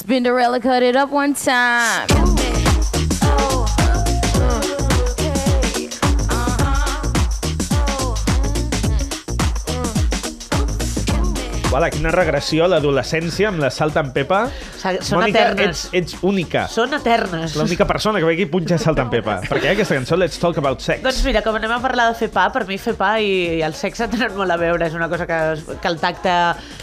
Spinderella cut it up one time. Uala, quina regressió a l'adolescència amb la Salt en Pepa. Sa- són Mònica, eternes. ets, ets única. Són eternes. L'única persona que ve aquí punxa Salt en Pepa. Perquè hi ha aquesta cançó, Let's Talk About Sex. Doncs mira, com anem a parlar de fer pa, per mi fer pa i, i el sexe tenen molt a veure, és una cosa que, que el tacte...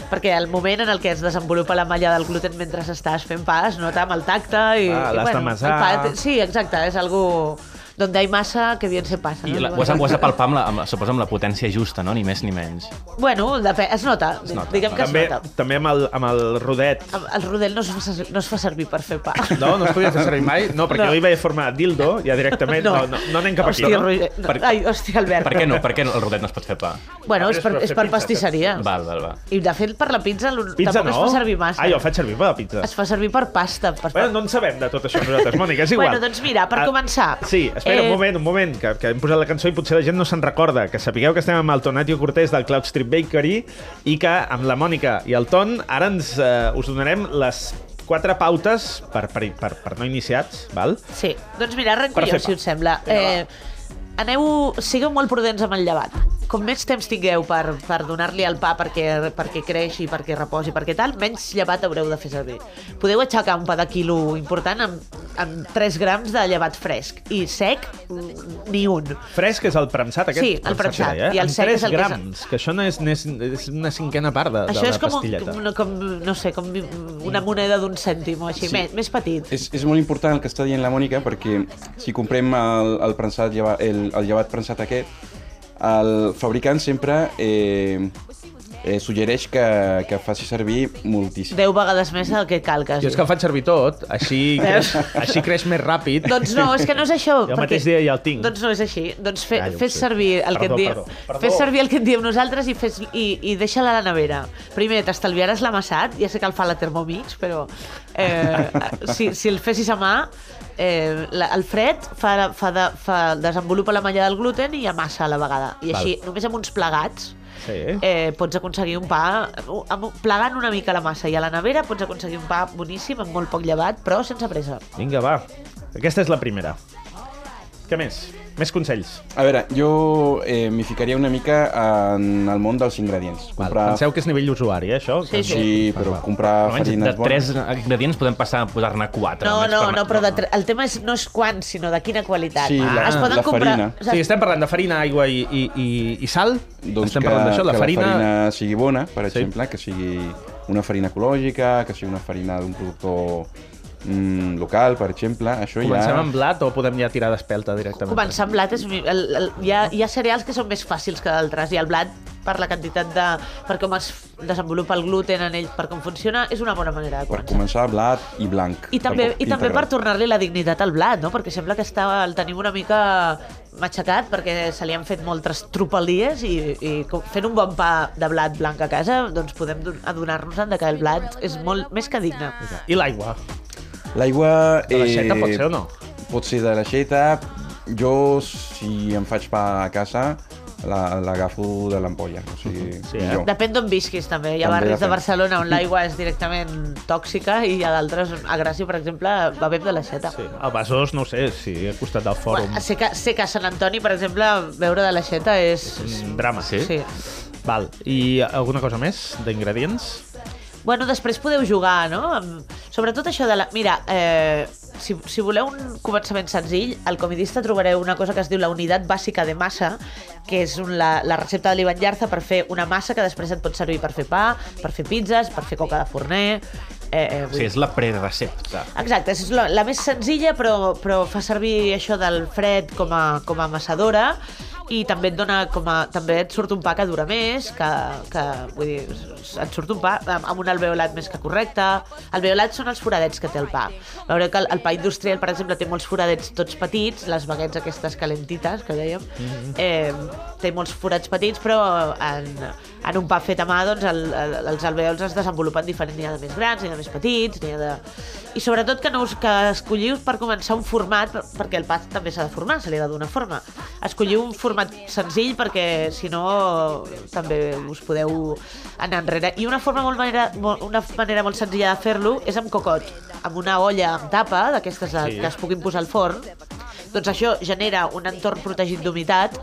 Perquè el moment en el que es desenvolupa la malla del gluten mentre estàs fent pa es nota amb el tacte i... Ah, i l'has de el masar. pa, sí, exacte, és algo... Donde hay masa, que bien se pasa. I no? la, ho, has, ho has de palpar amb la, amb, la- suposo amb la potència justa, no? Ni més ni menys. Bueno, depèn, es nota, es nota. nota. diguem que també, es nota. també amb el, amb el rodet. Amb- El rodel no es, fa, ser- no es fa servir per fer pa. No, no es podia fer servir mai. No, perquè No. jo hi vaig formar dildo, ja directament. No, no, no anem cap aquí, hòstia, no? Roger, no. Per- Ai, hòstia, Albert. Per què no? Per què el rodet no es pot fer pa? Bueno, és Però per, és per és fer per pizza, pastisseria. Val, val, val. I de fet, per la pizza, l'un- Pizza tampoc no? es fa servir massa. Ah, jo el faig servir per la pizza. Es fa servir per pasta. Per... Bueno, no en sabem de tot això nosaltres, Mònica, és igual. Bueno, doncs mira, per Ah, començar. Sí, espera, eh... Eh, un moment, un moment, que, que hem posat la cançó i potser la gent no se'n recorda. Que sapigueu que estem amb el Tonatio Cortés del Cloud Street Bakery i que amb la Mònica i el Ton ara ens, eh, us donarem les quatre pautes per, per, per, per no iniciats, val? Sí, doncs mira, arrenco Per fer jo, pa. si us sembla. Vinga, eh, aneu, sigueu molt prudents amb el llevat. Com més temps tingueu per, per donar-li el pa perquè, perquè creixi, perquè reposi, perquè tal, menys llevat haureu de fer servir. Podeu aixecar un pa de quilo important amb, amb 3 grams de llevat fresc. I sec, mm, ni un. Fresc és el premsat aquest. Sí, el premsat. Eh? I el Amb sec 3 és el que és- grams, que això no és, no és, és una cinquena part de, Això de la és com, un, pastilleta. com, una- com, no sé, com una moneda d'un cèntim o així, sí. més, més petit. És, és molt important el que està dient la Mònica perquè si comprem el, el, prensat, lleva- el, el llevat prensat aquest, el fabricant sempre eh, eh, suggereix que, que faci servir moltíssim. 10 vegades més del que cal, quasi. Jo és que el faig servir tot, així creix, així creix més ràpid. Doncs no, és que no és això. Jo mateix dia ja el tinc. Doncs no és així. Doncs fe, Ja, ja ho fes sé. servir el que Perdó, et diem. perdó, perdó. Fes servir el que et diem nosaltres i, fes, i, i deixa-la a la nevera. Primer, t'estalviaràs l'amassat, ja sé que el fa la Thermomix, però eh, si, si el fessis a mà, eh, la, el fred fa, fa, de, fa, desenvolupa la malla del gluten i amassa a la vegada. I Val. així, només amb uns plegats, Sí. eh, pots aconseguir un pa amb, plegant una mica la massa i a la nevera pots aconseguir un pa boníssim amb molt poc llevat però sense pressa Vinga, va. Aquesta és la primera. Què més? Més consells. A veure, jo eh, m'hi ficaria una mica en el món dels ingredients. Val. Penseu que és nivell d'usuari, eh, això? Sí, Sí, però comprar Almenys farines de tres bones... ingredients podem passar a posar-ne quatre. no, almenys no, per- no, però de, tre- el tema és, no és quan, sinó de quina qualitat. Sí, la- la farina. O Sí, sigui, estem parlant de farina, aigua i, i, i, i sal. Doncs estem que, parlant d'això, la que farina... la farina sigui bona, per Sí. exemple, que sigui una farina ecològica, que sigui una farina d'un productor mm, local, per exemple, això Comencem ja... amb blat o podem ja tirar d'espelta directament? Començar amb blat és... mi- El, el, hi, ha, hi ha cereals que són més fàcils que d'altres i el blat per la quantitat de... per com es desenvolupa el gluten en ell, per com funciona, és una bona manera de Per començar. començar, blat i blanc. I també, Tampoc i també per integral. tornar-li la dignitat al blat, no? Perquè sembla que està, el tenim una mica matxacat perquè se li han fet moltes tropelies i, i com- fent un bon pa de blat blanc a casa doncs podem don- adonar-nos-en de que el blat és molt més que digne. I l'aigua? L'aigua... eh, De l'aixeta pot ser o no? Pot ser de l'aixeta. Jo, si em faig pa a casa, la- l'agafo de l'ampolla. O sigui, Sí, eh? millor. Depèn d'on visquis, també. Hi ha També barris de depèn. Barcelona on l'aigua és directament tòxica i hi ha d'altres... on- A Gràcia, per exemple, bevem de l'aixeta. Sí. A Besòs, no ho sé, si sí, al costat del fòrum. Bueno, sé, que, sé que a Sant Antoni, per exemple, beure de l'aixeta és... és- Mm, drama. Sí? Sí. Val. I alguna cosa més d'ingredients? Bueno, després podeu jugar, no? Amb- Sobretot això de la... Mira, eh, si, si voleu un començament senzill, al Comidista trobareu una cosa que es diu la unitat bàsica de massa, que és un, la, la recepta de l'Ivan Llarza per fer una massa que després et pot servir per fer pa, per fer pizzas, per fer coca de forner... Eh, eh, O sigui, és la prerecepta. Exacte, és la, la més senzilla, però, però fa servir això del fred com a, com a amassadora i també et dona com a, també et surt un pa que dura més, que, que vull dir, s- et surt un pa amb amb un alveolat més que correcte. Alveolat són els foradets que té el pa. Veureu que el, el pa industrial, per exemple, té molts foradets tots petits, les baguets aquestes calentites que dèiem, eh, té molts forats petits, però en, en un pa fet a mà, doncs, el, el, els alveols es desenvolupen diferent. N'hi ha de més grans, n'hi ha de més petits, n'hi ha de... I sobretot que, no us, que escolliu per començar un format, per- perquè el pa també s'ha de formar, se li ha de donar forma. Escolliu un format senzill perquè, si no, també us podeu anar enrere. I una forma molt manera, molt, una manera molt senzilla de fer-lo és amb cocot, amb una olla amb tapa, d'aquestes de- Sí. que es puguin posar al forn, doncs això genera un entorn protegit d'humitat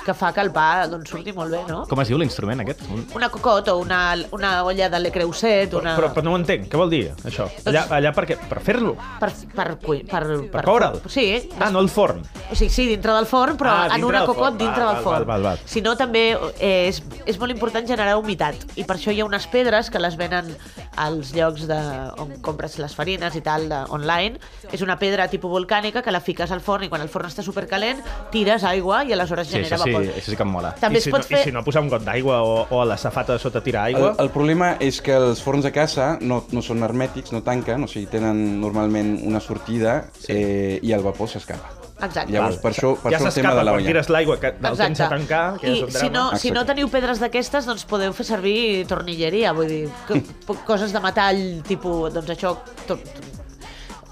que fa que el pa doncs, surti molt bé, no? Com es diu l'instrument aquest? Un... una cocot o una, una olla de le creuset, una... Però, però no ho entenc. Què vol dir, això? Doncs- Allà, allà per què? Per fer-lo? Per, per, cui- per, Per coure'l? Sí. Ah, no el forn. O sigui, sí, dintre del forn, però Ah, en dintre una del cocot forn. dintre Val, del val, forn. val, val. Si no, també eh, és, és molt important generar humitat. I per això hi ha unes pedres que les venen als llocs de, on compres les farines i tal, de, online. És una pedra tipus volcànica que la fiques al forn i quan el forn està supercalent tires aigua i aleshores Sí, genera això sí, vapor. això sí que em mola. També I si es pot no, fer... I si no, posar un got d'aigua o, o a la safata de sota tirar El, aigua? el problema és que els forns a casa no, no són hermètics, no tanquen, o sigui, tenen normalment una sortida sí. eh, i el vapor s'escapa. Exacte. Llavors, per això, per ja això el tema de la quan olla. tires l'aigua, que el tens a tancar, que I és un si drama. no, si no Exacte. teniu pedres d'aquestes, doncs podeu fer servir tornilleria, vull dir, co- po- coses de metall, tipus, doncs això... To, to,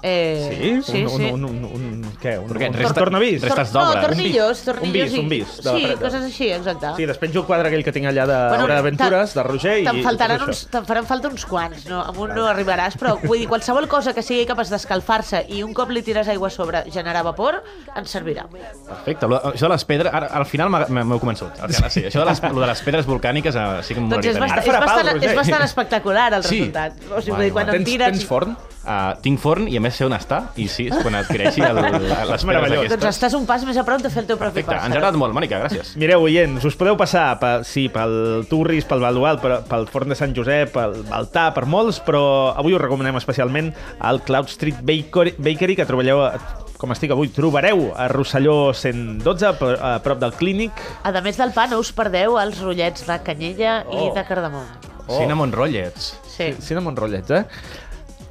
eh, Sí? un, Un, un, un, un, què? Un, Perquè un resta- tornavís? resta- restes d'obra. No, tornillos, Un vis, un tornillos. i- vis, un vis de la Sí, paret. coses així, exacte. Sí, després jo el quadre aquell que tinc allà de bueno, Hora d'Aventures, te'n- de Roger, i... Te'n i faltaran tot uns, això. te'n faran falta uns quants, no? Amb un no arribaràs, però vull dir, qualsevol cosa que sigui capaç d'escalfar-se i un cop li tires aigua a sobre generar vapor, ens servirà. Perfecte. Lo- Això de les pedres... Ara, al final m'ha- m'heu convençut. Ara, ara sí. Això de les, lo de les pedres volcàniques eh, sí que em Doncs molaria és, tenir. bast és, farà pau, bastant, és Roger. bastant espectacular el Sí. resultat. O sigui, Guai, vull dir, guai. quan en Tens, tires... tens forn? Uh, tinc forn i a més sé on està i sí, és quan adquireixi el, les pedres Meravellós. aquestes. Doncs estàs un pas més a prop de fer el teu propi Perfecte, pas. ens ha agradat molt, Mònica, gràcies. Mireu, oients, us podeu passar pe, sí, pel Turris, pel Baldual, pel, pel Forn de Sant Josep, pel Baltà, per molts, però avui us recomanem especialment el Cloud Street Bakery, Bakery que treballeu, com estic avui, trobareu a Rosselló 112, a, a prop del Clínic. A més del pa, no us perdeu els rotllets de canyella i Oh. de cardamom. Oh. Cinnamon Rollets. Sí. Cinnamon Rollets, eh?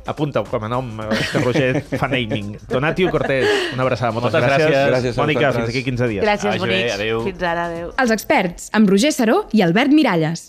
Apunta-ho com a nom, eh, que Roger fa naming. Donatio Cortés, una abraçada, moltes, Moltes gràcies. Gràcies a Mònica, vosaltres. fins aquí 15 dies. Gràcies, Vagi bé, bonics. adéu. Fins ara, adéu. Els experts, amb Roger Saró i Albert Miralles.